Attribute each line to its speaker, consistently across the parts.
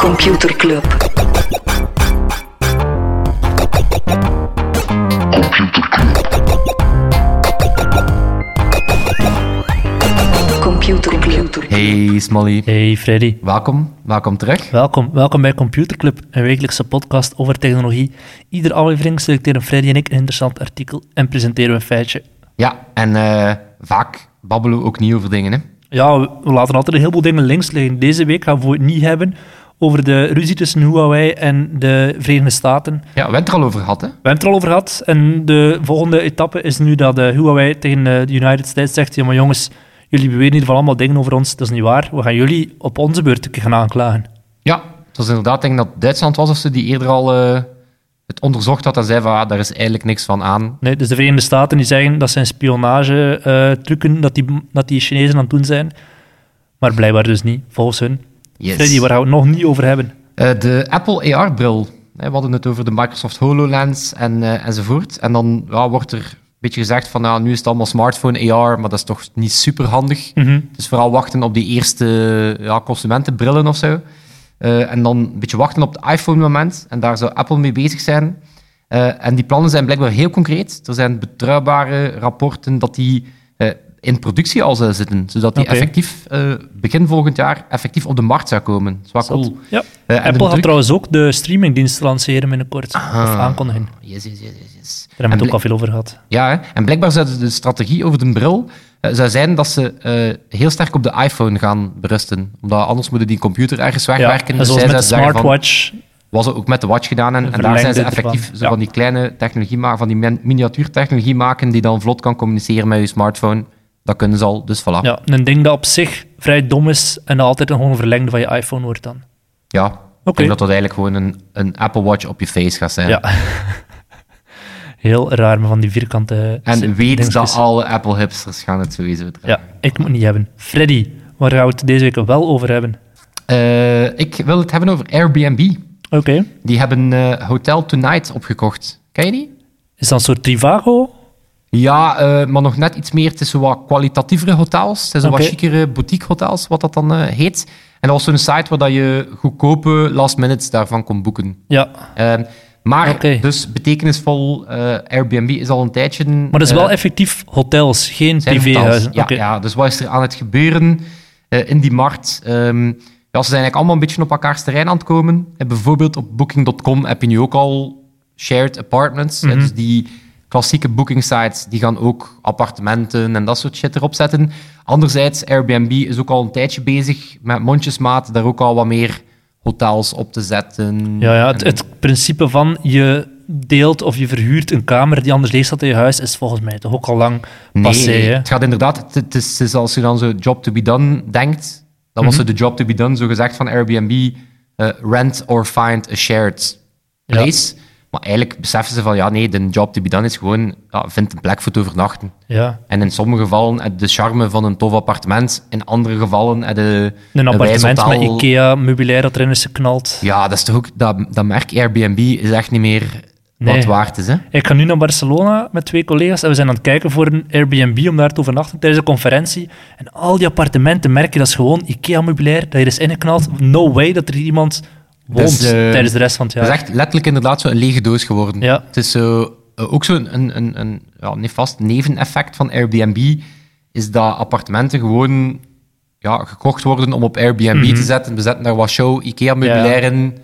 Speaker 1: Computer Club. Computer Club.
Speaker 2: Hey Smolly,
Speaker 3: Hey Freddy,
Speaker 2: welkom, welkom terug.
Speaker 3: welkom. Welkom bij Computer Club, een wekelijkse podcast over technologie. Iedere aflevering selecteren Freddy en ik een interessant artikel en presenteren we een feitje.
Speaker 2: Ja, en eh, vaak babbelen we ook niet over dingen, hè?
Speaker 3: Ja, we- we laten altijd een heleboel dingen links liggen. Deze week gaan we het niet hebben over de ruzie tussen Huawei en de Verenigde Staten.
Speaker 2: Ja, we hebben het er al over gehad, hè?
Speaker 3: We hebben het er al over gehad. En de volgende etappe is nu dat eh, Huawei tegen eh, de United States zegt: ja, maar jongens, jullie beweren hier van allemaal dingen over ons. Dat is niet waar. We gaan jullie op onze beurt een keer gaan aanklagen.
Speaker 2: Ja, het was inderdaad, denk ik, dat Duitsland was of ze die eerder al eh, het onderzocht had en zei van, ah, daar is eigenlijk niks van aan.
Speaker 3: Nee, dus de Verenigde Staten die zeggen dat zijn spionage-trucken dat, die, dat die Chinezen aan het doen zijn. Maar blijkbaar dus niet, volgens hun.
Speaker 2: Yes.
Speaker 3: Freddy, waar gaan we het nog niet over hebben?
Speaker 2: Eh, de Apple AR-bril. We hadden het over de Microsoft HoloLens en, eh, enzovoort. En dan ja, wordt er een beetje gezegd van, nou, nu is het allemaal smartphone AR, maar dat is toch niet super handig. Dus vooral wachten op die eerste ja, consumentenbrillen of zo. Eh, en dan een beetje wachten op het iPhone-moment. En daar zou Apple mee bezig zijn. Eh, en die plannen zijn blijkbaar heel concreet. Er zijn betrouwbare rapporten dat die eh, in productie al zou zitten. Zodat die
Speaker 3: Oké.
Speaker 2: effectief eh, begin volgend jaar effectief op de markt zou komen. Dat is wel cool.
Speaker 3: Ja.
Speaker 2: Eh, en de
Speaker 3: Apple gaat
Speaker 2: druk-
Speaker 3: trouwens ook de streamingdienst lanceren binnenkort. Of aankondigen. Daar
Speaker 2: Yes, yes, yes, yes, yes.
Speaker 3: hebben we het
Speaker 2: En
Speaker 3: ook al veel over gehad.
Speaker 2: bl- Ja, hè. en blijkbaar zou de strategie over de bril eh, zou zijn dat ze eh, heel sterk op de iPhone gaan berusten. Omdat anders moeten die computer ergens
Speaker 3: Ja,
Speaker 2: wegwerken.
Speaker 3: en zoals
Speaker 2: zij
Speaker 3: met de
Speaker 2: zou zeggen van-
Speaker 3: smartwatch.
Speaker 2: was het ook met de watch gedaan. En, en daar zijn ze
Speaker 3: verlengde
Speaker 2: effectief
Speaker 3: ervan,
Speaker 2: zo
Speaker 3: ja.
Speaker 2: van die kleine technologie maken, van die min- miniatuurtechnologie maken, die dan vlot kan communiceren met je smartphone. Dat kunnen ze al, dus voilà. Ja,
Speaker 3: Ja, een ding dat op zich vrij dom is en dat altijd een gewoon verlengde van je iPhone wordt dan.
Speaker 2: ik denk dat dat eigenlijk gewoon een, een Apple Watch op je face gaat zijn.
Speaker 3: Ja. Heel raar, maar van die vierkante...
Speaker 2: En weet dat
Speaker 3: dingetjes.
Speaker 2: alle Apple-hipsters gaan het sowieso dragen.
Speaker 3: Ja, ik moet het niet hebben. Freddy, waar gaan we het deze week wel over hebben?
Speaker 2: Eh, ik wil het hebben over Airbnb.
Speaker 3: Oké.
Speaker 2: Die hebben eh, Hotel Tonight opgekocht. Ken je die?
Speaker 3: Is dat een soort Trivago?
Speaker 2: Ja, eh, maar nog net iets meer. Het is zo wat kwalitatievere hotels. Het zijn zo
Speaker 3: Oké.
Speaker 2: wat chicere boutique hotels, wat dat dan eh, heet. En dat was zo'n site waar dat je goedkope last minutes daarvan kon boeken.
Speaker 3: Ja.
Speaker 2: Ehm, maar
Speaker 3: Oké.
Speaker 2: dus betekenisvol, eh, Airbnb is al een tijdje... eh,
Speaker 3: Maar dat is wel effectief hotels, geen privéhuizen.
Speaker 2: Ja,
Speaker 3: Oké.
Speaker 2: ja, dus wat is er aan het gebeuren eh, in die markt? Ehm, ja, ze zijn eigenlijk allemaal een beetje op elkaars terrein aan het komen. En bijvoorbeeld op Booking.com heb je nu ook al shared apartments.
Speaker 3: Mhm.
Speaker 2: Eh, dus die klassieke booking sites die gaan ook appartementen en dat soort shit erop zetten. Anderzijds, Airbnb is ook al een tijdje bezig met mondjesmaat daar ook al wat meer hotels op te zetten.
Speaker 3: Ja, ja, het, het principe van je deelt of je verhuurt een kamer die anders leeg staat in je huis, is volgens mij toch ook al lang passé.
Speaker 2: Nee,
Speaker 3: Hè?
Speaker 2: het gaat inderdaad... Het, het is, het is als je dan zo job to be done denkt, dan
Speaker 3: Mhm.
Speaker 2: was het de job to be done, zo gezegd, van Airbnb. eh, rent or find a shared
Speaker 3: Ja.
Speaker 2: place. Maar eigenlijk beseffen ze van, ja, nee, de job to be done is gewoon... Ja, vind een plek voor te overnachten.
Speaker 3: Ja.
Speaker 2: En in sommige gevallen heb je de charme van een tof appartement. In andere gevallen heb je
Speaker 3: Een
Speaker 2: wijs
Speaker 3: appartement
Speaker 2: hotel.
Speaker 3: met IKEA, meubilair dat erin is geknald.
Speaker 2: Ja, dat is toch ook... Dat, dat merk Airbnb is echt niet meer wat
Speaker 3: Nee.
Speaker 2: het waard is, hè?
Speaker 3: Ik ga nu naar Barcelona met twee collega's en we zijn aan het kijken voor een Airbnb om daar te overnachten tijdens een conferentie. En al die appartementen merk je dat is gewoon IKEA-meubilair dat je is ingeknald. No way dat er hier iemand woont
Speaker 2: Dus, eh,
Speaker 3: tijdens de rest van het jaar.
Speaker 2: Het is echt letterlijk inderdaad zo'n lege doos geworden.
Speaker 3: Ja.
Speaker 2: Het is zo, eh, ook zo'n een, een, een, ja, nefast neveneffect van Airbnb, is dat appartementen gewoon ja, gekocht worden om op Airbnb
Speaker 3: Mhm.
Speaker 2: te zetten. We zetten daar wat show, IKEA-meubilair in,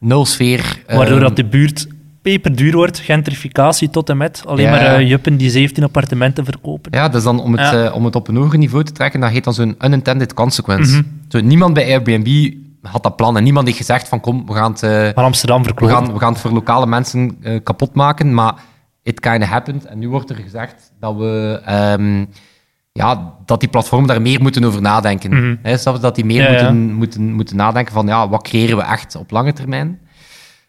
Speaker 2: nul sfeer.
Speaker 3: Waardoor
Speaker 2: ehm,
Speaker 3: dat de buurt peperduur wordt, gentrificatie tot en met. Alleen
Speaker 2: Ja.
Speaker 3: maar eh, juppen die 17 appartementen verkopen.
Speaker 2: Ja, dus dan om het,
Speaker 3: Ja.
Speaker 2: eh, om het op een hoger niveau te trekken, dat heet dan zo'n unintended consequence.
Speaker 3: Mhm.
Speaker 2: Zo, niemand bij Airbnb had dat plan en niemand heeft gezegd van kom, we gaan het... eh,
Speaker 3: Maar Amsterdam
Speaker 2: we
Speaker 3: verkoopt.
Speaker 2: gaan, we gaan het voor lokale mensen eh, kapot maken, maar it kind of happened. En nu wordt er gezegd dat we... ehm, ja, dat die platformen daar meer moeten over nadenken. Hè, snap je? Dat die meer
Speaker 3: Mhm. Ja, ja.
Speaker 2: moeten, Moeten, moeten nadenken van, ja, wat creëren we echt op lange termijn?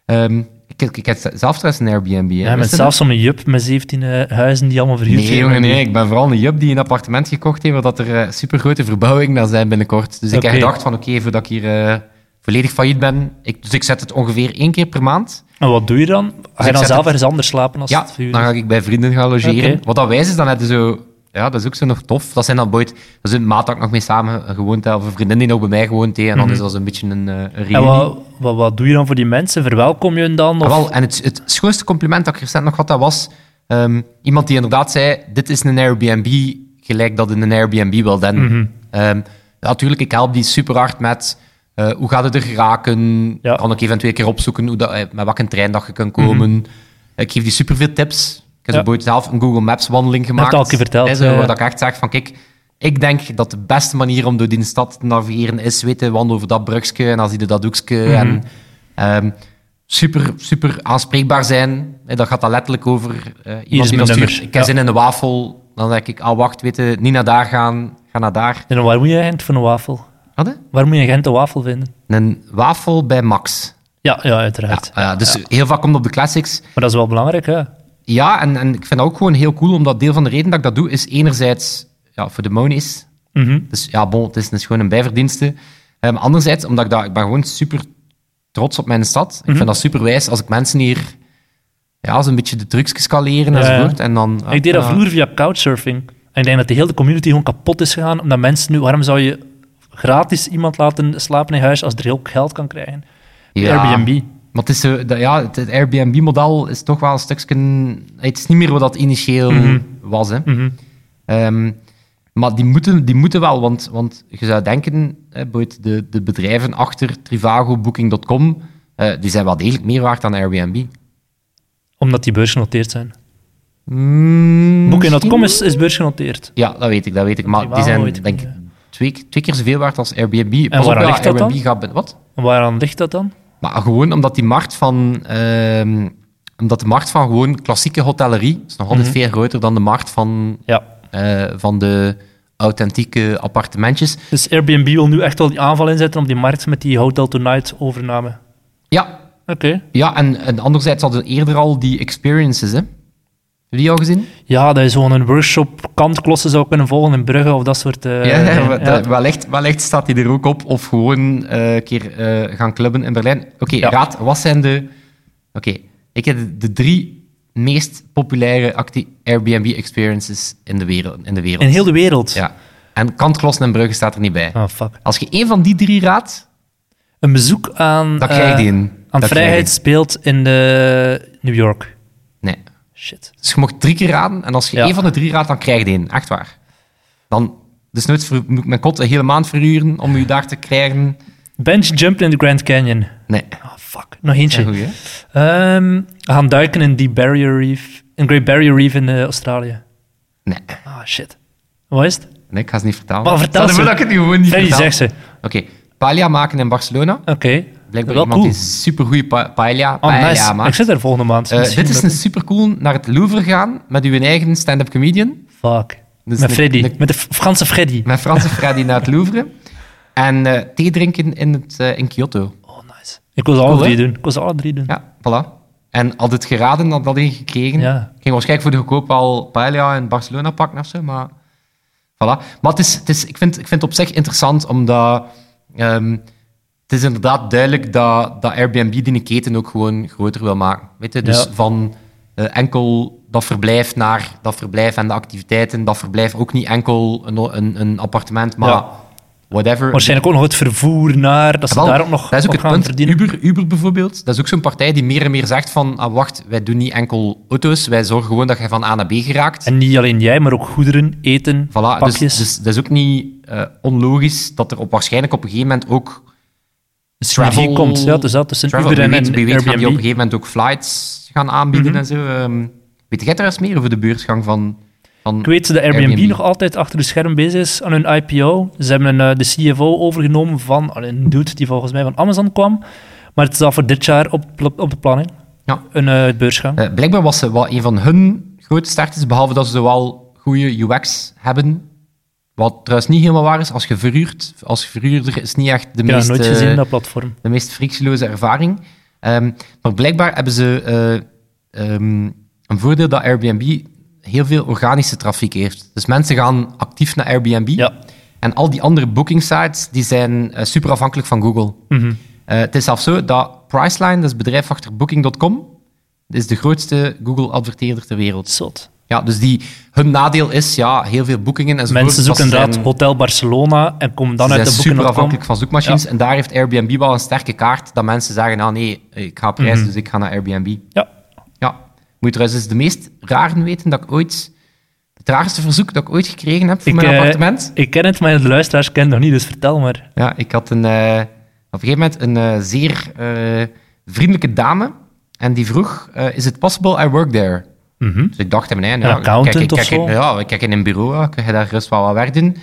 Speaker 2: Ehm, ik, ik, ik heb zelf trouwens een Airbnb. Hè.
Speaker 3: Ja, met
Speaker 2: Wist je
Speaker 3: zelfs zo'n jup met 17 eh, huizen die allemaal
Speaker 2: dat?
Speaker 3: verhuurd
Speaker 2: Nee, jongen, nee. Ik ben vooral een jup die een appartement gekocht heeft, waar dat er super supergrote verbouwingen aan zijn binnenkort. Dus ik
Speaker 3: Oké.
Speaker 2: heb gedacht van, oké, voordat ik hier eh, volledig failliet ben... Ik, dus ik zet het ongeveer één keer per maand.
Speaker 3: En wat doe je dan? Ga je
Speaker 2: Dus ik
Speaker 3: dan
Speaker 2: zet
Speaker 3: zelf
Speaker 2: het-
Speaker 3: ergens anders slapen als
Speaker 2: Ja,
Speaker 3: het verhuurd
Speaker 2: dan ga
Speaker 3: is?
Speaker 2: ik bij vrienden gaan logeren.
Speaker 3: Oké.
Speaker 2: Wat dat wijs is, dan heb je zo Ja, dat is ook zo nog tof. Dat zijn dan ooit... Dat is een maat dat ik nog mee samen gewoond heb, of een vriendin die nog bij mij gewoond heeft. En dan is dat een beetje een, eh, een reunie.
Speaker 3: Mhm. En wat, wat, wat doe je dan voor die mensen? Verwelkom je hen dan? Of...
Speaker 2: Ah, wel, en het, het schoonste compliment dat ik recent nog had, dat was ehm, iemand die inderdaad zei: Dit is een Airbnb, gelijk dat in een Airbnb wel den.
Speaker 3: Mhm.
Speaker 2: Ehm, ja, natuurlijk, ik help die super hard met eh, hoe gaat het er geraken.
Speaker 3: Ja.
Speaker 2: Kan ik eventueel een keer opzoeken hoe dat, eh, met welke trein dat je kan komen. Ik geef die superveel tips. Ik heb
Speaker 3: Mhm. Ja.
Speaker 2: zo ooit zelf een Google Maps wandeling gemaakt.
Speaker 3: al een keer verteld,
Speaker 2: Hè, zo,
Speaker 3: ja, ja.
Speaker 2: waar dat ik echt zeg: van kijk. Ik denk dat de beste manier om door die stad te navigeren is, weten, wandel over dat brugje en dan zie je dat doekje.
Speaker 3: Mhm.
Speaker 2: En, ehm, super, super aanspreekbaar zijn. En dat gaat dat letterlijk over eh
Speaker 3: is
Speaker 2: iemand die
Speaker 3: mijn
Speaker 2: dat stuurt.
Speaker 3: nummer.
Speaker 2: Ik heb
Speaker 3: Ja.
Speaker 2: zin in een wafel. Dan denk ik, ah wacht, weet je, niet naar daar gaan, ga naar daar.
Speaker 3: En waar moet je in Gent voor een wafel?
Speaker 2: Hadden?
Speaker 3: Waar moet je in Gent een wafel vinden?
Speaker 2: Een wafel bij Max.
Speaker 3: Ja, ja uiteraard.
Speaker 2: Ah ja, dus heel vaak komt op de classics.
Speaker 3: Maar dat is wel belangrijk, hè?
Speaker 2: Ja, en, en ik vind dat ook gewoon heel cool, omdat deel van de reden dat ik dat doe, is enerzijds ja, voor de monies.
Speaker 3: Mhm.
Speaker 2: Dus ja, bon, het is, het is gewoon een bijverdienste. Ehm, anderzijds, omdat ik, dat, ik ben gewoon super trots op mijn stad.
Speaker 3: Mhm.
Speaker 2: Ik vind dat super wijs als ik mensen hier ja, zo'n beetje de trucjes kan leren
Speaker 3: Ja, ja.
Speaker 2: enzovoort. En dan, eh, ja,
Speaker 3: ik deed dat
Speaker 2: ja.
Speaker 3: vroeger via couchsurfing. En ik denk dat de hele community gewoon kapot is gegaan. Omdat mensen nu, waarom zou je gratis iemand laten slapen in huis als er heel geld kan krijgen?
Speaker 2: Ja.
Speaker 3: Airbnb.
Speaker 2: Maar het, is, zo- dat- ja, het, het Airbnb-model is toch wel een stukje... eh, Het is niet meer wat dat initieel
Speaker 3: Mhm.
Speaker 2: was. Hè. Ehm, maar die moeten, die moeten wel, want, want je zou denken, hè, Boyd, de, de bedrijven achter Trivago, Booking.com, eh, die zijn wel degelijk meer waard dan Airbnb.
Speaker 3: Omdat die beursgenoteerd zijn.
Speaker 2: Mm,
Speaker 3: Booking.com
Speaker 2: misschien?
Speaker 3: is, is beursgenoteerd.
Speaker 2: Ja, dat weet ik, dat weet ik. Maar die
Speaker 3: Trivago
Speaker 2: zijn,
Speaker 3: weet ik
Speaker 2: denk ik,
Speaker 3: niet,
Speaker 2: twee, twee keer zoveel waard als Airbnb. Pas op,
Speaker 3: waaraan
Speaker 2: ja,
Speaker 3: ligt dat dan?
Speaker 2: Airbnb gaat... ben- Wat?
Speaker 3: En waaraan ligt dat dan?
Speaker 2: Maar gewoon omdat die markt van... ehm, omdat de markt van gewoon klassieke hotellerie is nog altijd
Speaker 3: Mhm.
Speaker 2: veel groter dan de markt van,
Speaker 3: Ja.
Speaker 2: eh, van de authentieke appartementjes.
Speaker 3: Dus Airbnb wil nu echt wel die aanval inzetten op die markt met die Hotel Tonight overname.
Speaker 2: Ja,
Speaker 3: Oké.
Speaker 2: ja en, en anderzijds hadden we eerder al die experiences, hè. Heb je die al gezien?
Speaker 3: Ja, dat je zo'n een workshop kantklossen zou kunnen volgen in Brugge of dat soort... eh,
Speaker 2: ja,
Speaker 3: eh,
Speaker 2: wel-
Speaker 3: ja.
Speaker 2: dat- Wellicht, wellicht staat hij er ook op. Of gewoon eh, een keer eh, gaan clubben in Berlijn. Oké,
Speaker 3: Ja.
Speaker 2: raad, wat zijn de... Oké, ik heb de, de drie meest populaire acti- Airbnb-experiences in de wereld. In de wereld.
Speaker 3: In heel de wereld.
Speaker 2: Ja. En Kantklossen en Brugge staat er niet bij.
Speaker 3: Ah, fuck.
Speaker 2: Als je één van die drie raadt,
Speaker 3: Een bezoek aan...
Speaker 2: dan krijg je
Speaker 3: eh,
Speaker 2: die in.
Speaker 3: Aan
Speaker 2: Dan krijg je
Speaker 3: vrijheid
Speaker 2: die.
Speaker 3: speelt in de New York.
Speaker 2: Nee.
Speaker 3: Shit.
Speaker 2: Dus je mocht drie keer raden. En als je
Speaker 3: Ja.
Speaker 2: één van de drie raadt, dan krijg je die in. Echt waar. Dan... Dus nooit ver- moet ik mijn kot een hele maand verhuren om u daar te krijgen.
Speaker 3: Bench jump in de Grand Canyon.
Speaker 2: Nee.
Speaker 3: Ah, fuck. Nog eentje.
Speaker 2: Ja, goed, hè?
Speaker 3: Ehm, we gaan duiken in die Barrier Reef. In Great Barrier Reef in eh, Australië.
Speaker 2: Nee.
Speaker 3: Ah, shit. Wat is het?
Speaker 2: Nee, ik ga ze niet vertalen.
Speaker 3: Maar vertel
Speaker 2: Stel
Speaker 3: ze.
Speaker 2: dat ik het nu gewoon niet
Speaker 3: Freddy,
Speaker 2: vertel.
Speaker 3: zeg ze.
Speaker 2: Oké, paella maken in Barcelona.
Speaker 3: Oké.
Speaker 2: Blijkbaar
Speaker 3: Wel
Speaker 2: iemand die
Speaker 3: cool.
Speaker 2: supergoeie pa paella,
Speaker 3: Oh,
Speaker 2: paella
Speaker 3: nice. Ik
Speaker 2: maakt.
Speaker 3: zit er volgende maand.
Speaker 2: Eh,
Speaker 3: Misschien
Speaker 2: dit is
Speaker 3: dat-
Speaker 2: een supercool naar het Louvre gaan met uw eigen stand-up comedian.
Speaker 3: Fuck.
Speaker 2: Dus
Speaker 3: met
Speaker 2: een-
Speaker 3: Freddy.
Speaker 2: een-
Speaker 3: Met de F- Franse Freddy.
Speaker 2: Met Franse Freddy naar het Louvre. En eh, thee drinken in, het, eh, in Kyoto.
Speaker 3: Oh, nice. Ik wil ze alle
Speaker 2: Cool,
Speaker 3: drie
Speaker 2: hè?
Speaker 3: doen. Ik wil ze alle drie doen.
Speaker 2: Ja, voilà. En had het geraden, had dat hij gekregen.
Speaker 3: Ja.
Speaker 2: Ik ging waarschijnlijk voor de goedkoop al paella in Barcelona pakken of zo, maar... Voilà. Maar het is, het is, ik, vind, ik vind het op zich interessant, omdat... ehm, het is inderdaad duidelijk dat, dat Airbnb die keten ook gewoon groter wil maken. Weet je? Dus
Speaker 3: Ja.
Speaker 2: van eh, enkel dat verblijf naar dat verblijf en de activiteiten. Dat verblijf ook niet enkel een, een, een appartement, maar
Speaker 3: Ja.
Speaker 2: whatever.
Speaker 3: Waarschijnlijk ook nog het vervoer naar... Dat ze
Speaker 2: Wel,
Speaker 3: daar ook nog
Speaker 2: dat is ook
Speaker 3: op
Speaker 2: het
Speaker 3: gaan
Speaker 2: punt.
Speaker 3: verdienen.
Speaker 2: Uber, Uber bijvoorbeeld, dat is ook zo'n partij die meer en meer zegt van ah, wacht, wij doen niet enkel auto's, wij zorgen gewoon dat je van A naar B geraakt.
Speaker 3: En niet alleen jij, maar ook goederen, eten,
Speaker 2: voilà, dus,
Speaker 3: pakjes.
Speaker 2: dus dat is ook niet eh, onlogisch dat er op, waarschijnlijk op een gegeven moment ook
Speaker 3: Dus
Speaker 2: travel...
Speaker 3: die komt. Ja, dus dat tussen
Speaker 2: travel,
Speaker 3: Uber en,
Speaker 2: wie weet,
Speaker 3: en
Speaker 2: wie weet gaan die op een
Speaker 3: Airbnb. Mhm.
Speaker 2: gegeven moment ook flights gaan aanbieden en zo. ehm. weet jij er eens meer over de beursgang van... van
Speaker 3: Ik weet dat de Airbnb,
Speaker 2: Airbnb.
Speaker 3: nog altijd achter de scherm bezig is aan hun IPO. Ze hebben een, eh, de CFO overgenomen van allee, een dude die volgens mij van Amazon kwam. Maar het staat voor dit jaar op, pl- op de planning.
Speaker 2: Ja.
Speaker 3: Een eh, beursgang.
Speaker 2: Eh, blijkbaar was ze wel een van hun grote starters, behalve dat ze wel goede UX hebben. Wat trouwens niet helemaal waar is. Als je verhuurt, als je verhuurder is niet echt de,
Speaker 3: ik heb dat
Speaker 2: meest,
Speaker 3: nooit
Speaker 2: eh,
Speaker 3: gezien, dat platform.
Speaker 2: de meest frictieloze ervaring. Ehm, maar blijkbaar hebben ze eh, ehm, een voordeel dat Airbnb heel veel organische trafiek heeft. Dus mensen gaan actief naar Airbnb.
Speaker 3: Ja.
Speaker 2: En al die andere booking sites die zijn eh, super afhankelijk van Google.
Speaker 3: Mhm.
Speaker 2: Eh, het is zelfs zo dat Priceline, dat is het bedrijf achter Booking.com, dat is de grootste Google-adverteerder ter wereld.
Speaker 3: Zot.
Speaker 2: Ja, dus die, hun nadeel is, ja, heel veel boekingen enzovoort.
Speaker 3: Mensen zoeken
Speaker 2: dat
Speaker 3: inderdaad
Speaker 2: zijn-
Speaker 3: Hotel Barcelona en komen dan
Speaker 2: ze
Speaker 3: uit de
Speaker 2: zijn
Speaker 3: boeken.
Speaker 2: super afhankelijk van zoekmachines. En daar heeft Airbnb wel een sterke kaart dat mensen zeggen, nou nee, ik ga op reis,
Speaker 3: Mhm.
Speaker 2: dus ik ga naar Airbnb.
Speaker 3: Ja,
Speaker 2: Ja. Moet je trouwens eens de meest raren weten dat ik ooit... Het raarste verzoek dat ik ooit gekregen heb voor
Speaker 3: ik,
Speaker 2: mijn
Speaker 3: eh,
Speaker 2: appartement.
Speaker 3: ik ken het, maar de luisteraars kennen het nog niet, dus vertel maar.
Speaker 2: Ja, ik had een, eh, op een gegeven moment een eh, zeer eh, vriendelijke dame. En die vroeg, eh, is it possible I work there? Dus ik dacht, nee, nou,
Speaker 3: Mhm. accountant
Speaker 2: kijk, ik-
Speaker 3: of
Speaker 2: kijk,
Speaker 3: zo?
Speaker 2: in- Ja, ik kijk in een bureau, ja, kun je daar gerust wel wat werk doen.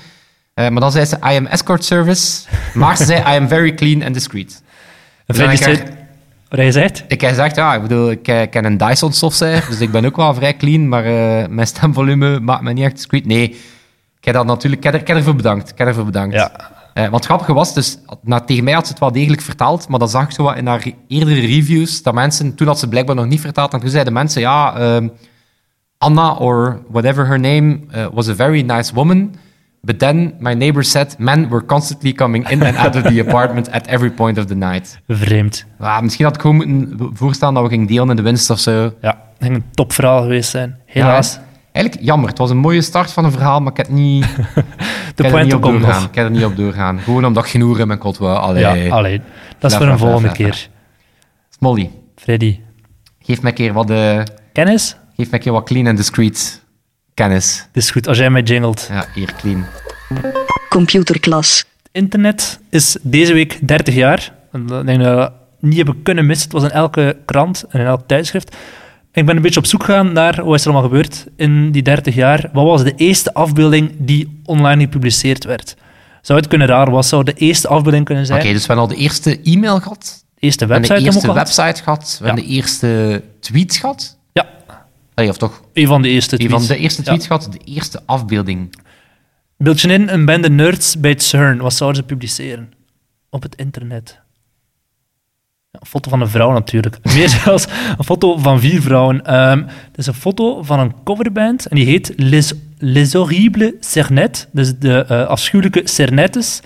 Speaker 2: Eh, maar dan zei ze, I am escort service. Maar ze zei, I am very clean and discreet.
Speaker 3: En
Speaker 2: dan
Speaker 3: Freddy
Speaker 2: heb ik
Speaker 3: zei... Wat hij zegt?
Speaker 2: Ik heb gezegd, ja, ik bedoel, ik eh, ken een Dyson stofzuiger, dus ik ben ook wel vrij clean, maar eh, mijn stemvolume maakt me niet echt discreet. Nee, ik heb dat natuurlijk, ik heb er, ik heb ervoor bedankt. Ik heb ervoor bedankt.
Speaker 3: Ja.
Speaker 2: Eh, want het grappige was, dus, nou, tegen mij had ze het wel degelijk vertaald, maar dan zag ik zo wat in haar eerdere reviews dat mensen, toen had ze blijkbaar nog niet vertaald, en toen zeiden mensen, ja, ehm, Anna or whatever her name uh, was a very nice woman. But then my neighbor said men were constantly coming in and out of the apartment at every point of the night.
Speaker 3: Vreemd.
Speaker 2: Ah, misschien had ik gewoon moeten voorstellen dat we gingen delen in de winst of zo.
Speaker 3: Ja, dat ging een topverhaal geweest zijn. Helaas.
Speaker 2: Ja, eigenlijk jammer. Het was een mooie start van een verhaal, maar ik heb niet, ik
Speaker 3: de
Speaker 2: heb er niet
Speaker 3: pointe
Speaker 2: op
Speaker 3: komt
Speaker 2: doorgaan.
Speaker 3: nog.
Speaker 2: Ik heb er niet op doorgaan. Gewoon omdat ik genoeg in mijn kot wou. Allee.
Speaker 3: Ja, alleen. Dat is
Speaker 2: Ja,
Speaker 3: voor
Speaker 2: ja,
Speaker 3: een volgende
Speaker 2: ja, ja, ja.
Speaker 3: keer.
Speaker 2: Smolly,
Speaker 3: Freddy,
Speaker 2: geef mij een keer wat, eh,
Speaker 3: kennis?
Speaker 2: geef mij een keer wat clean and discreet kennis.
Speaker 3: Het is goed als jij mij jingelt.
Speaker 2: Ja, hier clean.
Speaker 1: Computer Class.
Speaker 3: Internet is deze week 30 jaar. En Dat denk ik dat we niet hebben kunnen missen. Het was in elke krant en in elk tijdschrift. En ik ben een beetje op zoek gegaan naar wat is er allemaal gebeurd in die 30 jaar. Wat was de eerste afbeelding die online gepubliceerd werd? Zou het kunnen raar, wat zou de eerste afbeelding kunnen zijn?
Speaker 2: Oké, dus we hebben al de eerste e-mail gehad.
Speaker 3: De eerste
Speaker 2: We hebben
Speaker 3: website
Speaker 2: de
Speaker 3: hebben we
Speaker 2: eerste
Speaker 3: ook gehad.
Speaker 2: website gehad. We hebben de eerste tweet gehad.
Speaker 3: Ja,
Speaker 2: Allee, of toch,
Speaker 3: een van de eerste
Speaker 2: een
Speaker 3: tweets.
Speaker 2: van de eerste
Speaker 3: Ja.
Speaker 2: tweets gehad. De eerste afbeelding.
Speaker 3: Beeld je in, een bende nerds bij het CERN. Wat zouden ze publiceren? Op het internet. Ja, een foto van een vrouw natuurlijk. Meer zelfs een foto van vier vrouwen. Ehm, het is een foto van een coverband en die heet Les, Les Horribles Cernettes. Dus de eh, afschuwelijke Cernettes.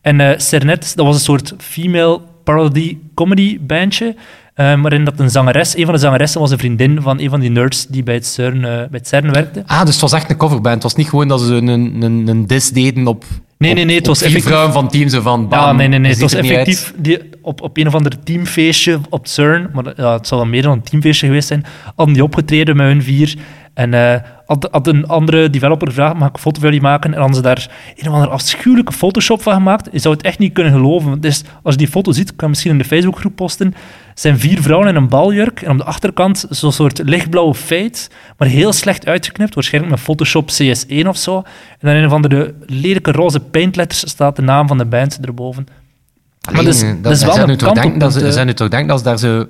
Speaker 3: En eh Cernettes, dat was een soort female parody comedy bandje. ehm, waarin dat een zangeres, een van de zangeressen was een vriendin van een van die nerds die bij het CERN, eh, bij het CERN werkte.
Speaker 2: Ah, dus het was echt een coverband. Het was niet gewoon dat ze een, een, een, een dis deden op.
Speaker 3: Nee,
Speaker 2: op-
Speaker 3: nee, nee, het
Speaker 2: op
Speaker 3: was
Speaker 2: vier
Speaker 3: effectief-
Speaker 2: vrouwen van team zo van.
Speaker 3: Ja,
Speaker 2: bam,
Speaker 3: Ah, nee, nee, nee.
Speaker 2: Ah, ziet
Speaker 3: Het was
Speaker 2: er niet
Speaker 3: effectief die, op, op een of ander teamfeestje op CERN. Maar ja, het zal wel meer dan een teamfeestje geweest zijn. Hadden die opgetreden met hun vier. En eh had, had een andere developer gevraagd: mag ik een foto van jullie maken? En hadden ze daar een of andere afschuwelijke Photoshop van gemaakt. Je zou het echt niet kunnen geloven. Dus als je die foto ziet, kan je misschien in de Facebookgroep posten. Het zijn vier vrouwen in een baljurk. En op de achterkant zo'n soort lichtblauwe feit. Maar heel slecht uitgeknipt. Waarschijnlijk met Photoshop CS1 of zo. En dan in een van de lelijke roze paintletters staat de naam van de band erboven.
Speaker 2: uit.
Speaker 3: Maar dat is-
Speaker 2: Alleen,
Speaker 3: dat is
Speaker 2: ze
Speaker 3: wel
Speaker 2: zijn
Speaker 3: een
Speaker 2: nu toch denken dat ze-
Speaker 3: kantelpunt,
Speaker 2: ze
Speaker 3: eh.
Speaker 2: zijn nu toch denken dat ze daar zo.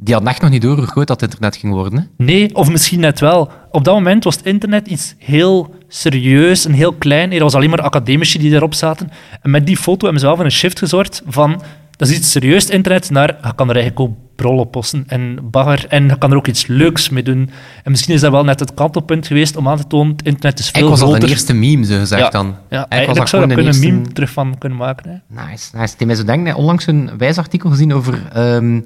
Speaker 2: Die hadden echt nog niet doorgegooid dat het internet ging worden. hè?
Speaker 3: Nee, of misschien net wel. Op dat moment was het internet iets heel serieus en heel klein. Er was alleen maar academici die daarop zaten. En met die foto hebben ze wel voor een shift gezorgd van... Dat is iets serieus, het internet, naar je kan er eigenlijk ook brol op posten en bagger. En je kan er ook iets leuks mee doen. En misschien is dat wel net het kantelpunt geweest om aan te tonen... Het internet is
Speaker 2: Ik
Speaker 3: veel
Speaker 2: was al
Speaker 3: groter.
Speaker 2: de eerste meme, zo gezegd
Speaker 3: ja,
Speaker 2: dan.
Speaker 3: Ja,
Speaker 2: Ik was
Speaker 3: eigenlijk
Speaker 2: daar
Speaker 3: zou je
Speaker 2: gewoon
Speaker 3: daar kunnen
Speaker 2: de
Speaker 3: een meme
Speaker 2: eerste-
Speaker 3: terug van kunnen maken. Hè?
Speaker 2: Nice, nice. Die mij zo denken, ik heb onlangs een wijsartikel gezien over ehm,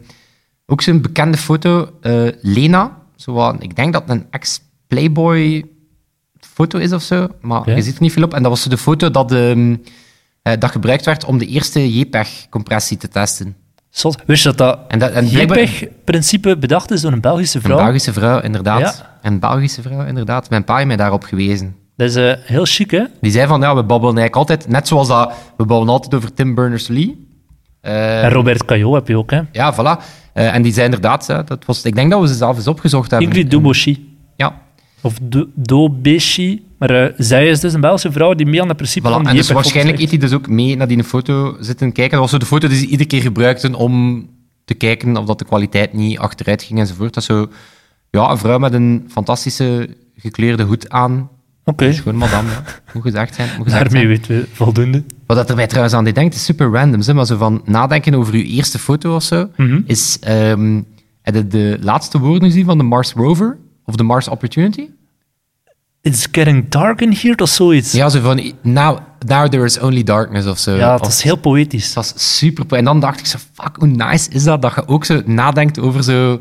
Speaker 2: ook zo'n bekende foto, eh, Lena. Zo wat- ik denk dat het een ex-Playboy foto is of zo, maar
Speaker 3: Oké.
Speaker 2: je ziet er niet veel op. En dat was zo de foto dat, ehm, eh, dat gebruikt werd om de eerste JPEG-compressie te testen.
Speaker 3: Zot. Wist je dat dat
Speaker 2: En dat, en blijkbaar-
Speaker 3: JPEG-principe bedacht is door een Belgische
Speaker 2: een
Speaker 3: vrouw?
Speaker 2: Belgische vrouw, inderdaad.
Speaker 3: Ja.
Speaker 2: Een Belgische vrouw, inderdaad. Mijn pa heeft mij daarop gewezen.
Speaker 3: Dat is eh, heel chic, hè?
Speaker 2: Die zei van, ja, we babbelen eigenlijk altijd, net zoals dat, we babbelen altijd over Tim Berners-Lee. Eh,
Speaker 3: En Robert Caillot heb je ook, hè?
Speaker 2: Ja, voilà. Eh, en die zijn inderdaad, hè, dat was, ik denk dat we ze zelf eens opgezocht hebben.
Speaker 3: Ingrid Duboshi.
Speaker 2: Ja,
Speaker 3: Of Do- Dobeshi. Maar eh, zij is dus een Belgische vrouw die mee aan het principe van
Speaker 2: voilà.
Speaker 3: die
Speaker 2: En dus
Speaker 3: JPEG
Speaker 2: waarschijnlijk
Speaker 3: optrekt.
Speaker 2: heeft hij dus ook mee naar die foto zitten kijken. Dat was zo de foto die ze iedere keer gebruikten om te kijken of dat de kwaliteit niet achteruit ging enzovoort. Dat is zo, ja, een vrouw met een fantastische gekleurde hoed aan.
Speaker 3: Oké,
Speaker 2: Schoon madame, ja. moet gezegd zijn. Moet gezegd
Speaker 3: daarmee
Speaker 2: zijn.
Speaker 3: weten we voldoende.
Speaker 2: Wat dat er mij trouwens aan deed denkt, is super random. Zeg maar zo van nadenken over uw eerste foto of zo.
Speaker 3: Mhm.
Speaker 2: Is ehm, heb je de laatste woorden gezien van de Mars Rover of de Mars Opportunity?
Speaker 3: It's getting dark in here, of zoiets.
Speaker 2: Ja, zo van, now, now there is only darkness of zo.
Speaker 3: Ja, het
Speaker 2: Of-
Speaker 3: is heel poëtisch.
Speaker 2: Het was super. En dan dacht ik zo, fuck, hoe nice is dat? Dat je ook zo nadenkt over zo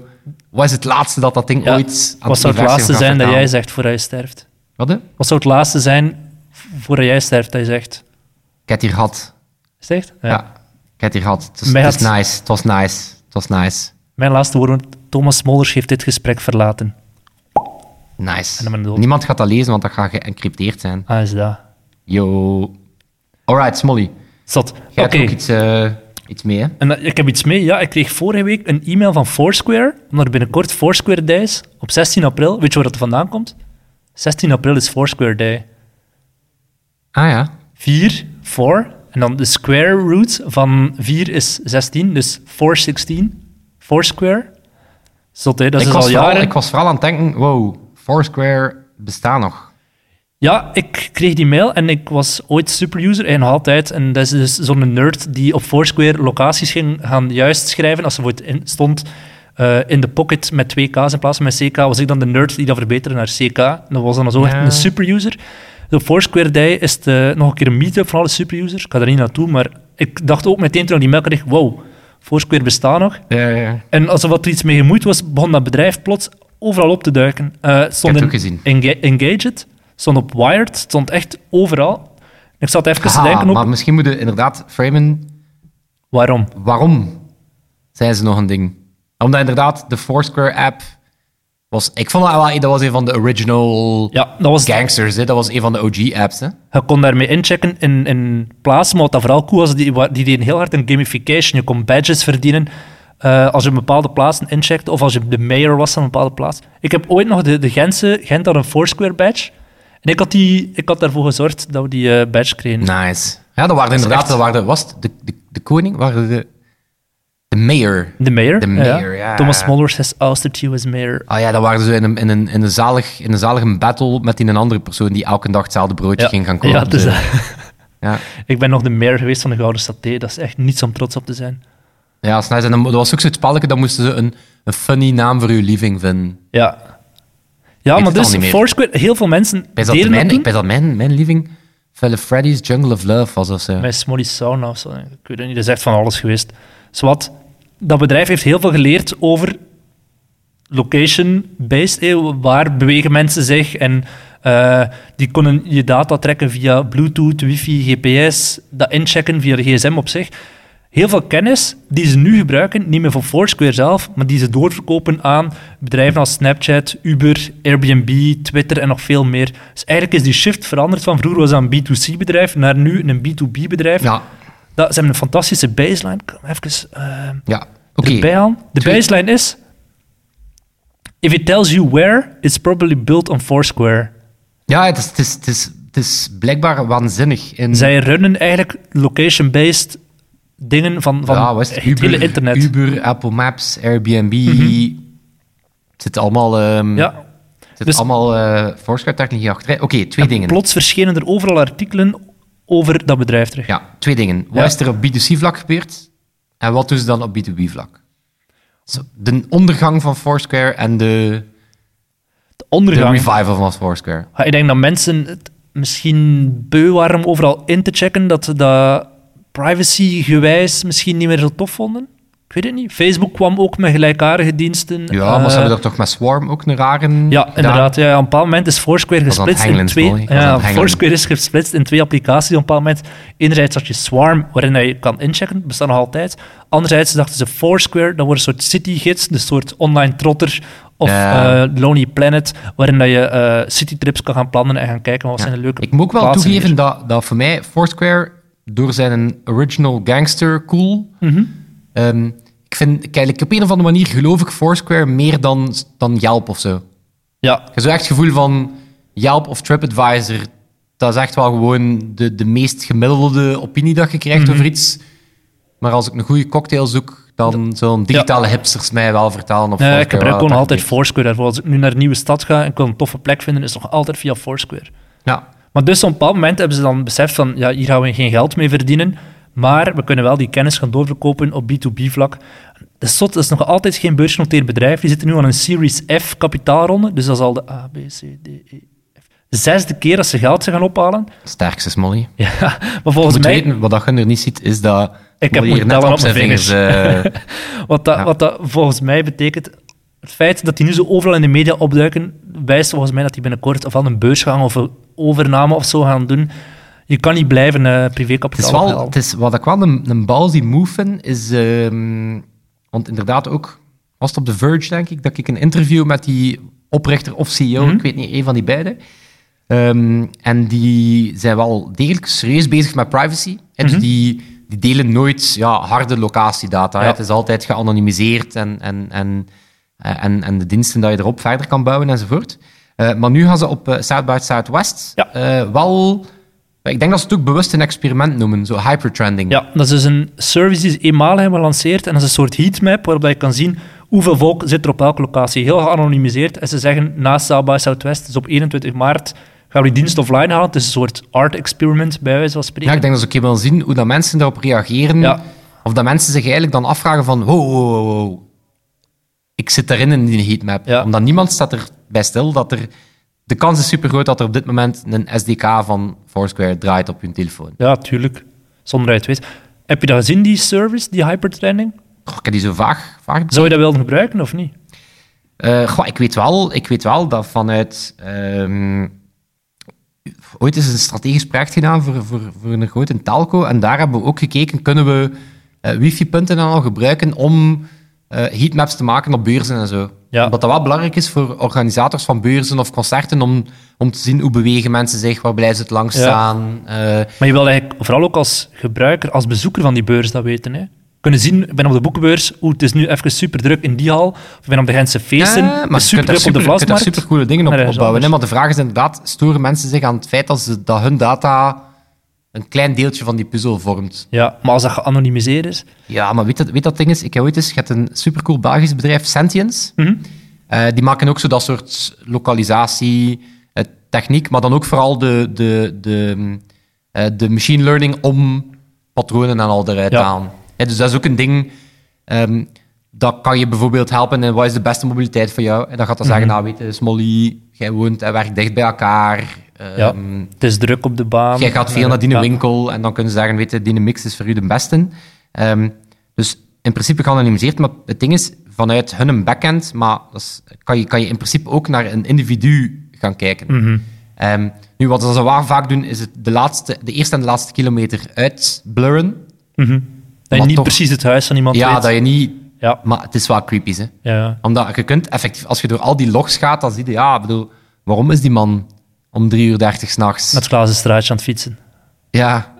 Speaker 2: Wat is het laatste dat dat ding
Speaker 3: Ja,
Speaker 2: ooit aan
Speaker 3: Wat zou het
Speaker 2: universum
Speaker 3: laatste
Speaker 2: gaat
Speaker 3: zijn dat jij
Speaker 2: vertalen?
Speaker 3: zegt voor hij sterft?
Speaker 2: Wat? hè? Ik
Speaker 3: Wat zou het laatste zijn voordat jij sterft dat je zegt?
Speaker 2: heb het hier gehad.
Speaker 3: Is het echt? Ja.
Speaker 2: Ja. Ik heb het hier gehad. Het was,
Speaker 3: Mij
Speaker 2: het was
Speaker 3: had-
Speaker 2: nice. Het was nice. Het was nice.
Speaker 3: Mijn laatste woorden. Thomas Mollers heeft dit gesprek verlaten. En
Speaker 2: Nice.
Speaker 3: dan ben je dood.
Speaker 2: Niemand gaat dat lezen, want dat gaat geëncrypteerd zijn.
Speaker 3: Ah, is dat.
Speaker 2: Yo. Alright, Smolly.
Speaker 3: Zat. Oké.
Speaker 2: Jij hebt ook iets, eh, iets mee, hè?
Speaker 3: En dat- ik heb iets mee. Ja, ik kreeg vorige week een e-mail van Foursquare. Omdat er binnenkort Foursquare Day is. Op 16 april. Weet je waar dat vandaan komt? 16 april is Foursquare Day.
Speaker 2: Ah ja.
Speaker 3: 4, 4. En dan de square root van 4 is 16. Dus 416. Foursquare. Zot, hè? Dat is
Speaker 2: ik,
Speaker 3: dus
Speaker 2: was
Speaker 3: al
Speaker 2: vooral,
Speaker 3: jaren.
Speaker 2: ik was vooral aan het denken, wow, Foursquare bestaat nog.
Speaker 3: Ja, ik kreeg die mail en ik was ooit superuser en nog altijd. En dat is dus zo'n nerd die op Foursquare locaties ging gaan juist schrijven. Als er voor het in stond eh, in de pocket met twee K's in plaats van met CK, was ik dan de nerd die dat verbeterde naar CK. En dat was dan zo echt
Speaker 2: Ja.
Speaker 3: een superuser. De Foursquare Day is het, eh, nog een keer een meetup van alle superusers. Ik ga daar niet naartoe, maar ik dacht ook meteen toen ik die mail kreeg, wow, Foursquare bestaat nog.
Speaker 2: Ja, ja.
Speaker 3: En alsof er iets mee gemoeid was, begon dat bedrijf plots overal op te duiken. Eh, het stond
Speaker 2: het
Speaker 3: in,
Speaker 2: ook gezien.
Speaker 3: Enga- Engaged, stond op Wired, het stond echt overal. Ik zat even te
Speaker 2: Aha,
Speaker 3: Dus denken op
Speaker 2: maar misschien moeten we inderdaad framen,
Speaker 3: waarom.
Speaker 2: waarom zijn ze nog een ding? Omdat inderdaad, de Foursquare-app was... Ik vond dat wel... Dat was een van de original
Speaker 3: Ja, dat was,
Speaker 2: gangsters, hè? Dat was een van de OG-apps, hè?
Speaker 3: je kon daarmee inchecken in, in plaatsen, maar wat dat vooral cool was, die, wa- die deden heel hard een gamification. Je kon badges verdienen eh, als je een bepaalde plaatsen incheckte of als je de mayor was van een bepaalde plaats. Ik heb ooit nog de, de Gentse, Gent had een Foursquare badge. En ik had, die, ik had daarvoor gezorgd dat we die eh, badge kregen.
Speaker 2: Nice. Ja, dat waren inderdaad...
Speaker 3: echt-
Speaker 2: Dat waren de, was het de, de, de koning? Waren de... De mayor.
Speaker 3: De mayor?
Speaker 2: De mayor, ja.
Speaker 3: Thomas Muller has ousted you as mayor.
Speaker 2: Ah ja, dat waren ze in een, in een, in een, zalig, in een zalige battle met die een andere persoon die elke dag hetzelfde broodje ging gaan kopen.
Speaker 3: Ja, dus,
Speaker 2: Zo. ja.
Speaker 3: ik ben nog de mayor geweest van de Gouden Saté. Dat is echt niets om trots op te zijn.
Speaker 2: Ja, dat is nice. En dan, dat was ook zo'n spelletje, dan moesten ze een, een funny naam voor uw living vinden.
Speaker 3: Ja. Ja,
Speaker 2: het
Speaker 3: maar
Speaker 2: al
Speaker 3: dus
Speaker 2: niet meer.
Speaker 3: Foursquare, heel veel mensen
Speaker 2: Ik weet dat,
Speaker 3: deden dat
Speaker 2: mijn,
Speaker 3: toen.
Speaker 2: ik weet dat mijn, mijn living Felle Freddy's Jungle of Love was of zo.
Speaker 3: Bij Smolly Sauna of zo. Ik weet het niet, dat is echt van alles geweest. Zwat, dat bedrijf heeft heel veel geleerd over location-based. eh, Waar bewegen mensen zich? En eh, die konden je data trekken via Bluetooth, wifi, GPS. Dat inchecken via de gsm op zich. Heel veel kennis die ze nu gebruiken, niet meer van Foursquare zelf, maar die ze doorverkopen aan bedrijven als Snapchat, Uber, Airbnb, Twitter en nog veel meer. Dus eigenlijk is die shift veranderd van vroeger was dat een B2C-bedrijf naar nu een B2B-bedrijf.
Speaker 2: Ja,
Speaker 3: Dat, ze hebben een fantastische baseline. Ik kan hem even eh,
Speaker 2: ja. Oké.
Speaker 3: erbij halen. De
Speaker 2: Twee-
Speaker 3: baseline is... If it tells you where, it's probably built on
Speaker 2: Mhm.
Speaker 3: Foursquare.
Speaker 2: Ja, het is, het, is, het, is, het is blijkbaar waanzinnig. In,
Speaker 3: Zij runnen eigenlijk location-based dingen van, van
Speaker 2: ja, wat is
Speaker 3: het
Speaker 2: het? Uber,
Speaker 3: hele internet. Mhm.
Speaker 2: Uber, Apple Maps, Airbnb. Het zit allemaal, ehm
Speaker 3: Ja.
Speaker 2: het zit
Speaker 3: dus-
Speaker 2: allemaal eh Foursquare-technologie achterin. Oké, twee dingen.
Speaker 3: Plots verschenen er overal artikelen over dat bedrijf terug.
Speaker 2: Ja, twee dingen. Wat
Speaker 3: Ja.
Speaker 2: is er op B2C-vlak gebeurd? En wat doen ze dan op B2B-vlak? De ondergang van Foursquare en de,
Speaker 3: De
Speaker 2: de
Speaker 3: ondergang.
Speaker 2: revival van Foursquare.
Speaker 3: Ja, ik denk dat mensen het misschien beu waren om overal in te checken. Dat ze dat privacy-gewijs misschien niet meer zo tof vonden. Ik weet het niet. Facebook kwam ook met gelijkaardige diensten.
Speaker 2: Ja, maar ze
Speaker 3: Eh,
Speaker 2: hebben daar toch met Swarm ook een rare...
Speaker 3: ja,
Speaker 2: gedaan?
Speaker 3: inderdaad. Ja, op een bepaald moment is Foursquare
Speaker 2: was aan het
Speaker 3: gesplitst in
Speaker 2: hengelen,
Speaker 3: twee.
Speaker 2: sorry. Ik was aan
Speaker 3: Ja,
Speaker 2: het hengelen.
Speaker 3: Foursquare is gesplitst in twee applicaties. Op een bepaald moment. Enerzijds had je Swarm, waarin je kan inchecken, bestaat nog altijd. Anderzijds dachten ze Foursquare, dat wordt een soort citygids, een soort online trotter of
Speaker 2: Ja.
Speaker 3: eh, Lonely Planet, waarin dat je eh, citytrips kan gaan plannen en gaan kijken wat
Speaker 2: Ja.
Speaker 3: zijn de leuke
Speaker 2: Ik moet ook wel
Speaker 3: plaatsen
Speaker 2: toegeven
Speaker 3: hier.
Speaker 2: dat, dat voor mij Foursquare, door zijn original gangster cool...
Speaker 3: Mhm.
Speaker 2: ehm, ik vind, kijk, ik op een of andere manier geloof ik Foursquare meer dan, dan Yelp of zo.
Speaker 3: Ja, Eh,
Speaker 2: Ik heb zo echt het gevoel van Yelp of TripAdvisor. Dat is echt wel gewoon de, de meest gemiddelde opinie dat je krijgt
Speaker 3: Mhm.
Speaker 2: over iets. Maar als ik een goede cocktail zoek, dan zullen digitale hipsters mij wel vertalen. Of
Speaker 3: Nee, ik
Speaker 2: Foursquare
Speaker 3: gebruik
Speaker 2: wel
Speaker 3: gewoon
Speaker 2: dat
Speaker 3: altijd
Speaker 2: ik
Speaker 3: Foursquare daarvoor. Als ik nu naar een nieuwe stad ga en ik wil een toffe plek vinden, is het nog altijd via Foursquare.
Speaker 2: weet. Ja.
Speaker 3: Maar dus op een bepaald moment hebben ze dan beseft van, ja, hier gaan we geen geld mee verdienen, maar we kunnen wel die kennis gaan doorverkopen op B2B-vlak. De SOT is nog altijd geen beursgenoteerd bedrijf. Die zitten nu aan een Series F kapitaalronde, dus dat is al de A, B, C, D, E, F. De zesde keer dat ze geld ze gaan ophalen.
Speaker 2: Sterkste Smolly.
Speaker 3: Ja, maar volgens
Speaker 2: Moet
Speaker 3: mij...
Speaker 2: weten, wat dat je er niet ziet, is dat
Speaker 3: heb
Speaker 2: Smolly
Speaker 3: moeten
Speaker 2: net
Speaker 3: tellen
Speaker 2: op
Speaker 3: op
Speaker 2: zijn
Speaker 3: mijn
Speaker 2: vingers... eh,
Speaker 3: Wat dat,
Speaker 2: Ja.
Speaker 3: wat dat volgens mij betekent, Het feit dat die nu zo overal in de media opduiken, wijst volgens mij dat die binnenkort of aan een beursgang of een overname of zo gaan doen. Je kan niet blijven eh
Speaker 2: Het
Speaker 3: privékapitaal
Speaker 2: is wel,
Speaker 3: ophalen.
Speaker 2: het is, wat ik wel een, een ballsy move vind, is... ehm, want inderdaad ook, was het op The Verge, denk ik, dat ik een interview met die oprichter of CEO, ik weet niet, een van die beiden. Ehm, en die zijn wel degelijk serieus bezig met privacy. Hè, Dus die, die delen nooit ja, harde locatiedata. hè.
Speaker 3: Ja.
Speaker 2: Het is altijd geanonimiseerd en, en, en, eh, en, en de diensten dat je erop verder kan bouwen enzovoort. Eh, maar nu gaan ze op eh, South by Southwest
Speaker 3: Ja.
Speaker 2: eh, wel... Ik denk dat ze het ook bewust een experiment noemen, zo hypertrending.
Speaker 3: Ja, dat is dus een service die ze eenmaal hebben gelanceerd. En dat is een soort heatmap waarop je kan zien hoeveel volk zit er op welke locatie. Heel geanonimiseerd. En ze zeggen naast South by Southwest, dus op 21 maart gaan we die dienst offline halen. Het is een soort art experiment, bij wijze van spreken.
Speaker 2: Ja, ik denk dat ze ook wel zien hoe dat mensen daarop reageren.
Speaker 3: Ja.
Speaker 2: Of dat mensen zich eigenlijk dan afvragen van... Wow, wow, wow, wow. Ik zit daarin in die heatmap.
Speaker 3: Ja.
Speaker 2: Omdat niemand staat erbij stil dat er... De kans is super groot dat er op dit moment een SDK van Foursquare draait op hun telefoon.
Speaker 3: Ja, tuurlijk. Zonder dat je het weet. Heb je dat gezien, die service, die hypertrending?
Speaker 2: Goh, ik heb die zo vaag... vaag
Speaker 3: Zou je dat willen gebruiken of niet?
Speaker 2: Eh, goh, ik, weet wel, ik weet wel dat vanuit. ehm, ooit is een strategisch project gedaan voor, voor, voor een grote telco. En daar hebben we ook gekeken: kunnen we eh, wifi-punten dan al gebruiken om eh, heatmaps te maken op beurzen en zo?
Speaker 3: Ja.
Speaker 2: Omdat dat wel belangrijk is voor organisators van beurzen of concerten om, om te zien hoe bewegen mensen zich, waar blijven ze het lang
Speaker 3: Ja.
Speaker 2: staan. eh,
Speaker 3: Maar je wil eigenlijk vooral ook als gebruiker, als bezoeker van die beurs dat weten. Hè? Kunnen zien, ik ben op de boekenbeurs, oeh, het is nu even super druk in die hal. Of ik ben op de Gentse feesten,
Speaker 2: Ja,
Speaker 3: het is
Speaker 2: je
Speaker 3: super
Speaker 2: kunt daar
Speaker 3: druk op
Speaker 2: super-
Speaker 3: de
Speaker 2: je kunt daar
Speaker 3: vlasmarkt.
Speaker 2: super coole dingen
Speaker 3: Maar
Speaker 2: op
Speaker 3: er is
Speaker 2: opbouwen. hè.
Speaker 3: anders.
Speaker 2: Maar de vraag is inderdaad, storen mensen zich aan het feit dat, ze, dat hun data een klein deeltje van die puzzel vormt?
Speaker 3: Ja, maar als dat geanonimiseerd is,
Speaker 2: Ja, maar weet dat, weet dat ding is? Ik heb ooit eens, je hebt een supercool Belgisch bedrijf, Sentience.
Speaker 3: Mhm.
Speaker 2: Eh, die maken ook zo dat soort localisatie, eh, techniek, maar dan ook vooral de, de, de, mm, eh, de machine learning om patronen en al eruit te
Speaker 3: Ja.
Speaker 2: halen. Hè, dus dat is ook een ding. ehm, dat kan je bijvoorbeeld helpen in wat is de beste mobiliteit voor jou. En dan gaat dat
Speaker 3: Mhm.
Speaker 2: zeggen, nou weet je, Smolly, jij woont en werkt dicht bij elkaar.
Speaker 3: ja,
Speaker 2: Ehm,
Speaker 3: het is druk op de baan.
Speaker 2: Jij gaat veel naar die
Speaker 3: Ja.
Speaker 2: winkel en dan kunnen ze zeggen, weet je, die mix is voor u de beste. Ehm, dus in principe geanonimiseerd, maar het ding is, vanuit hun een backend, maar dat is- kan, je, kan je in principe ook naar een individu gaan kijken.
Speaker 3: Mhm.
Speaker 2: Ehm, nu, wat ze wel vaak doen, is het de, laatste, de eerste en de laatste kilometer uitblurren.
Speaker 3: Dat je
Speaker 2: Maar
Speaker 3: niet
Speaker 2: toch-
Speaker 3: precies het huis van iemand
Speaker 2: Ja,
Speaker 3: weet.
Speaker 2: dat je niet...
Speaker 3: Ja,
Speaker 2: Maar het is wel creepy, hè.
Speaker 3: ja.
Speaker 2: Omdat je kunt effectief, als je door al die logs gaat, dan zie je, ja, ik bedoel, waarom is die man om 3 uur 30 s'nachts?
Speaker 3: Met het glazen straatje aan het fietsen.
Speaker 2: Ja,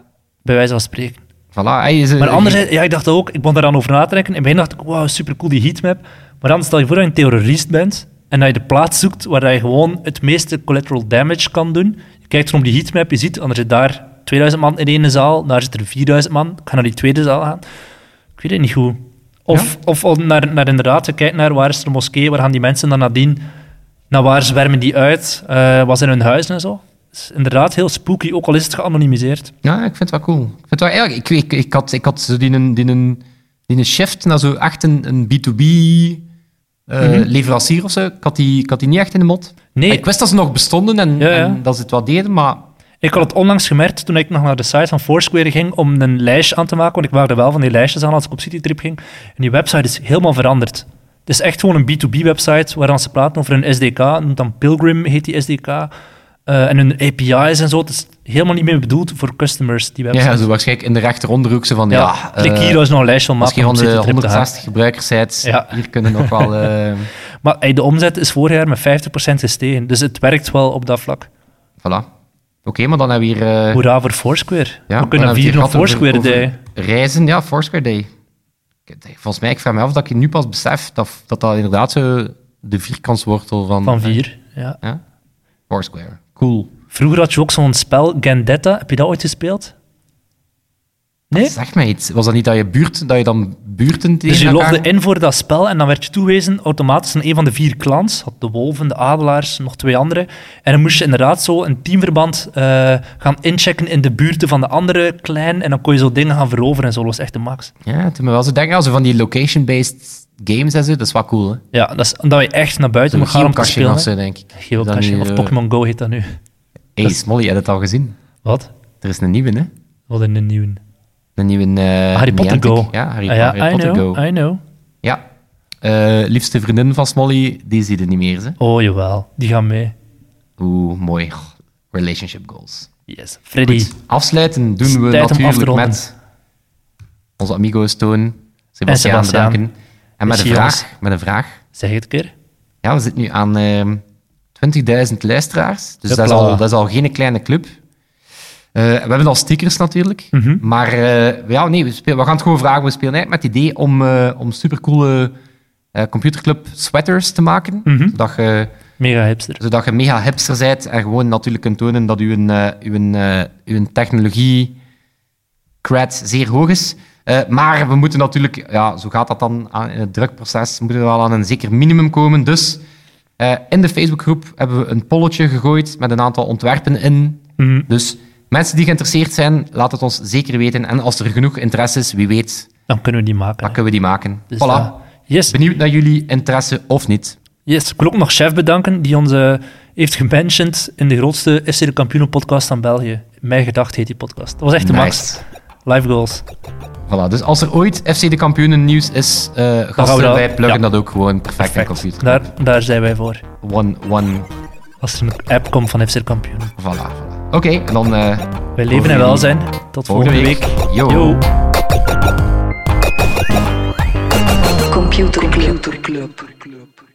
Speaker 3: Bij wijze van spreken.
Speaker 2: voilà. hij is een-
Speaker 3: Maar anderzijds, ja, ik dacht ook, ik begon daaraan over na te denken. In het begin dacht ik, wauw, supercool die heatmap. Maar dan stel je voor dat je een terrorist bent en dat je de plaats zoekt waar je gewoon het meeste collateral damage kan doen. Je kijkt rond die heatmap, je ziet, anders zit daar 2000 man in de ene zaal, daar zitten er 4000 man. Ik ga naar die tweede zaal gaan. Ik weet het niet goed. Of, of om naar, naar inderdaad, je kijkt naar waar is de moskee, waar gaan die mensen dan nadien, naar waar zwermen die uit, eh wat zijn hun huizen en zo. Het is inderdaad heel spooky, ook al is het geanonimiseerd.
Speaker 2: Ja, ik vind het wel cool. Ik, vind het wel, eigenlijk, ik, ik, ik had, ik had zo die, een- die, een- die een shift naar zo echt een, een B2B eh, leverancier of zo. Ik had, die, ik had die niet echt in de mot.
Speaker 3: Mhm. Nee.
Speaker 2: Ik wist dat ze nog bestonden en,
Speaker 3: Ja, ja.
Speaker 2: en dat ze het wel deden, maar
Speaker 3: Ik had het onlangs gemerkt toen ik nog naar de site van Foursquare ging om een lijstje aan te maken, want ik waren wel van die lijstjes aan als ik op citytrip ging. En die website is helemaal veranderd. Het is echt gewoon een B2B-website waar dan ze praten over hun SDK, noemt dan Pilgrim heet die SDK, eh, en hun API's en zo. Het is helemaal niet meer bedoeld voor customers, die website.
Speaker 2: ja, zo waarschijnlijk in de rechteronderhoek zo van ja,
Speaker 3: Ja, klik
Speaker 2: eh,
Speaker 3: hier als je nog een lijstje wil
Speaker 2: als je
Speaker 3: maken
Speaker 2: van
Speaker 3: om
Speaker 2: de
Speaker 3: citytrip te gaan.
Speaker 2: 160 gebruikers bent,
Speaker 3: Ja.
Speaker 2: hier kunnen nog wel... eh,
Speaker 3: Maar hey, de omzet is vorig jaar met 50% gestegen, dus het werkt wel op dat vlak.
Speaker 2: voilà. Oké, maar dan hebben we hier... eh,
Speaker 3: Hoera voor Foursquare.
Speaker 2: ja,
Speaker 3: We
Speaker 2: dan
Speaker 3: kunnen
Speaker 2: hebben hier
Speaker 3: vieren op
Speaker 2: gehad over-
Speaker 3: Foursquare
Speaker 2: over
Speaker 3: Day.
Speaker 2: Reizen, ja, Foursquare Day. Ik- Volgens mij, ik vraag me af dat ik nu pas besef dat dat, dat inderdaad zo de vierkantswortel van...
Speaker 3: van vier. Ja.
Speaker 2: Ja? Foursquare. Cool.
Speaker 3: Vroeger had je ook zo'n spel, Gandetta. Heb je dat ooit gespeeld? Nee?
Speaker 2: Zeg mij iets. Was dat niet dat je, buurt, dat je dan buurten tegen
Speaker 3: Dus je
Speaker 2: elkaar...
Speaker 3: logde in voor dat spel en dan werd je toewezen automatisch aan een van de vier clans. Had de wolven, de adelaars, nog twee andere. En dan moest je inderdaad zo een teamverband eh, gaan inchecken in de buurten van de andere clan. En dan kon je zo dingen gaan veroveren en zo. Dat was echt de max.
Speaker 2: Ja, toen me wel zo denken. Ja, zo van die location-based games en zo. Dat is wel cool, hè?
Speaker 3: Ja, dat is omdat je echt naar buiten
Speaker 2: Zo'n
Speaker 3: moet gaan om te
Speaker 2: geocaching
Speaker 3: spelen.
Speaker 2: of zo, denk ik.
Speaker 3: Geocaching, of
Speaker 2: Pokémon.
Speaker 3: Pokémon Go heet dat nu.
Speaker 2: Hey, Smolly, heb je het al gezien?
Speaker 3: Wat?
Speaker 2: Er is een nieuwe, hè?
Speaker 3: Wat een nieuwe.
Speaker 2: Een nieuwe... eh,
Speaker 3: Harry Potter
Speaker 2: Niantic.
Speaker 3: Go.
Speaker 2: Ja, Harry,
Speaker 3: Ah ja,
Speaker 2: Harry Potter
Speaker 3: I know,
Speaker 2: Go.
Speaker 3: I know.
Speaker 2: Ja. eh, liefste vriendin van Smolly, die zie je niet meer. Ze.
Speaker 3: Oh, jawel. Die gaan mee.
Speaker 2: Oeh, mooi. Relationship goals.
Speaker 3: Yes. Freddy.
Speaker 2: Goed, Afsluiten
Speaker 3: Het
Speaker 2: doen
Speaker 3: is
Speaker 2: we
Speaker 3: tijd om af te
Speaker 2: natuurlijk
Speaker 3: ronden.
Speaker 2: met onze amigo's Toon, Sebastiaan,
Speaker 3: Sebastiaan.
Speaker 2: bedanken. En met
Speaker 3: Merci,
Speaker 2: een,
Speaker 3: jongens.
Speaker 2: vraag, met een vraag.
Speaker 3: Zeg het een keer.
Speaker 2: Ja, we zitten nu aan ehm 20.000 luisteraars. Dus dat is,
Speaker 3: Hopla.
Speaker 2: al, dat is al geen kleine club. Eh, we hebben al stickers natuurlijk. Maar eh, ja, nee, we, spelen- we gaan het gewoon vragen. We spelen eigenlijk met het idee om, eh, om supercoole eh, computerclub sweaters te maken. Zodat je
Speaker 3: Mega hipster.
Speaker 2: zodat je mega hipster bent en gewoon natuurlijk kunt tonen dat uw, eh, uw, eh, uw technologie cred zeer hoog is. Eh, maar we moeten natuurlijk, ja, zo gaat dat dan aan, in het drukproces, moeten we wel aan een zeker minimum komen. Dus eh, in de Facebookgroep hebben we een polletje gegooid met een aantal ontwerpen in.
Speaker 3: Mhm.
Speaker 2: Dus mensen die geïnteresseerd zijn, laat het ons zeker weten. En als er genoeg interesse is, wie weet,
Speaker 3: Dan kunnen we die maken.
Speaker 2: dan
Speaker 3: hè.
Speaker 2: kunnen we die maken.
Speaker 3: Dus,
Speaker 2: voilà.
Speaker 3: eh, yes.
Speaker 2: Benieuwd naar jullie interesse of niet.
Speaker 3: Yes, ik wil ook nog Chef bedanken, die ons eh, heeft gementiond in de grootste FC de Kampioenen podcast aan België. Mijn Gedacht heet die podcast. Dat was echt de max.
Speaker 2: Nice.
Speaker 3: Live goals.
Speaker 2: Voilà, dus als er ooit FC de Kampioenen nieuws is, eh,
Speaker 3: gaan we
Speaker 2: gasten,
Speaker 3: dat-
Speaker 2: wij pluggen
Speaker 3: ja.
Speaker 2: dat ook gewoon perfect, in computer.
Speaker 3: Daar, daar zijn wij voor.
Speaker 2: One, one,
Speaker 3: Als er een app komt van FC de Kampioenen.
Speaker 2: voilà. voilà. Oké, en dan eh,
Speaker 3: Wij leven en
Speaker 2: jullie.
Speaker 3: welzijn. Tot volgende,
Speaker 2: volgende week.
Speaker 3: week.
Speaker 2: Yo.
Speaker 1: Computer Club. Computer Club.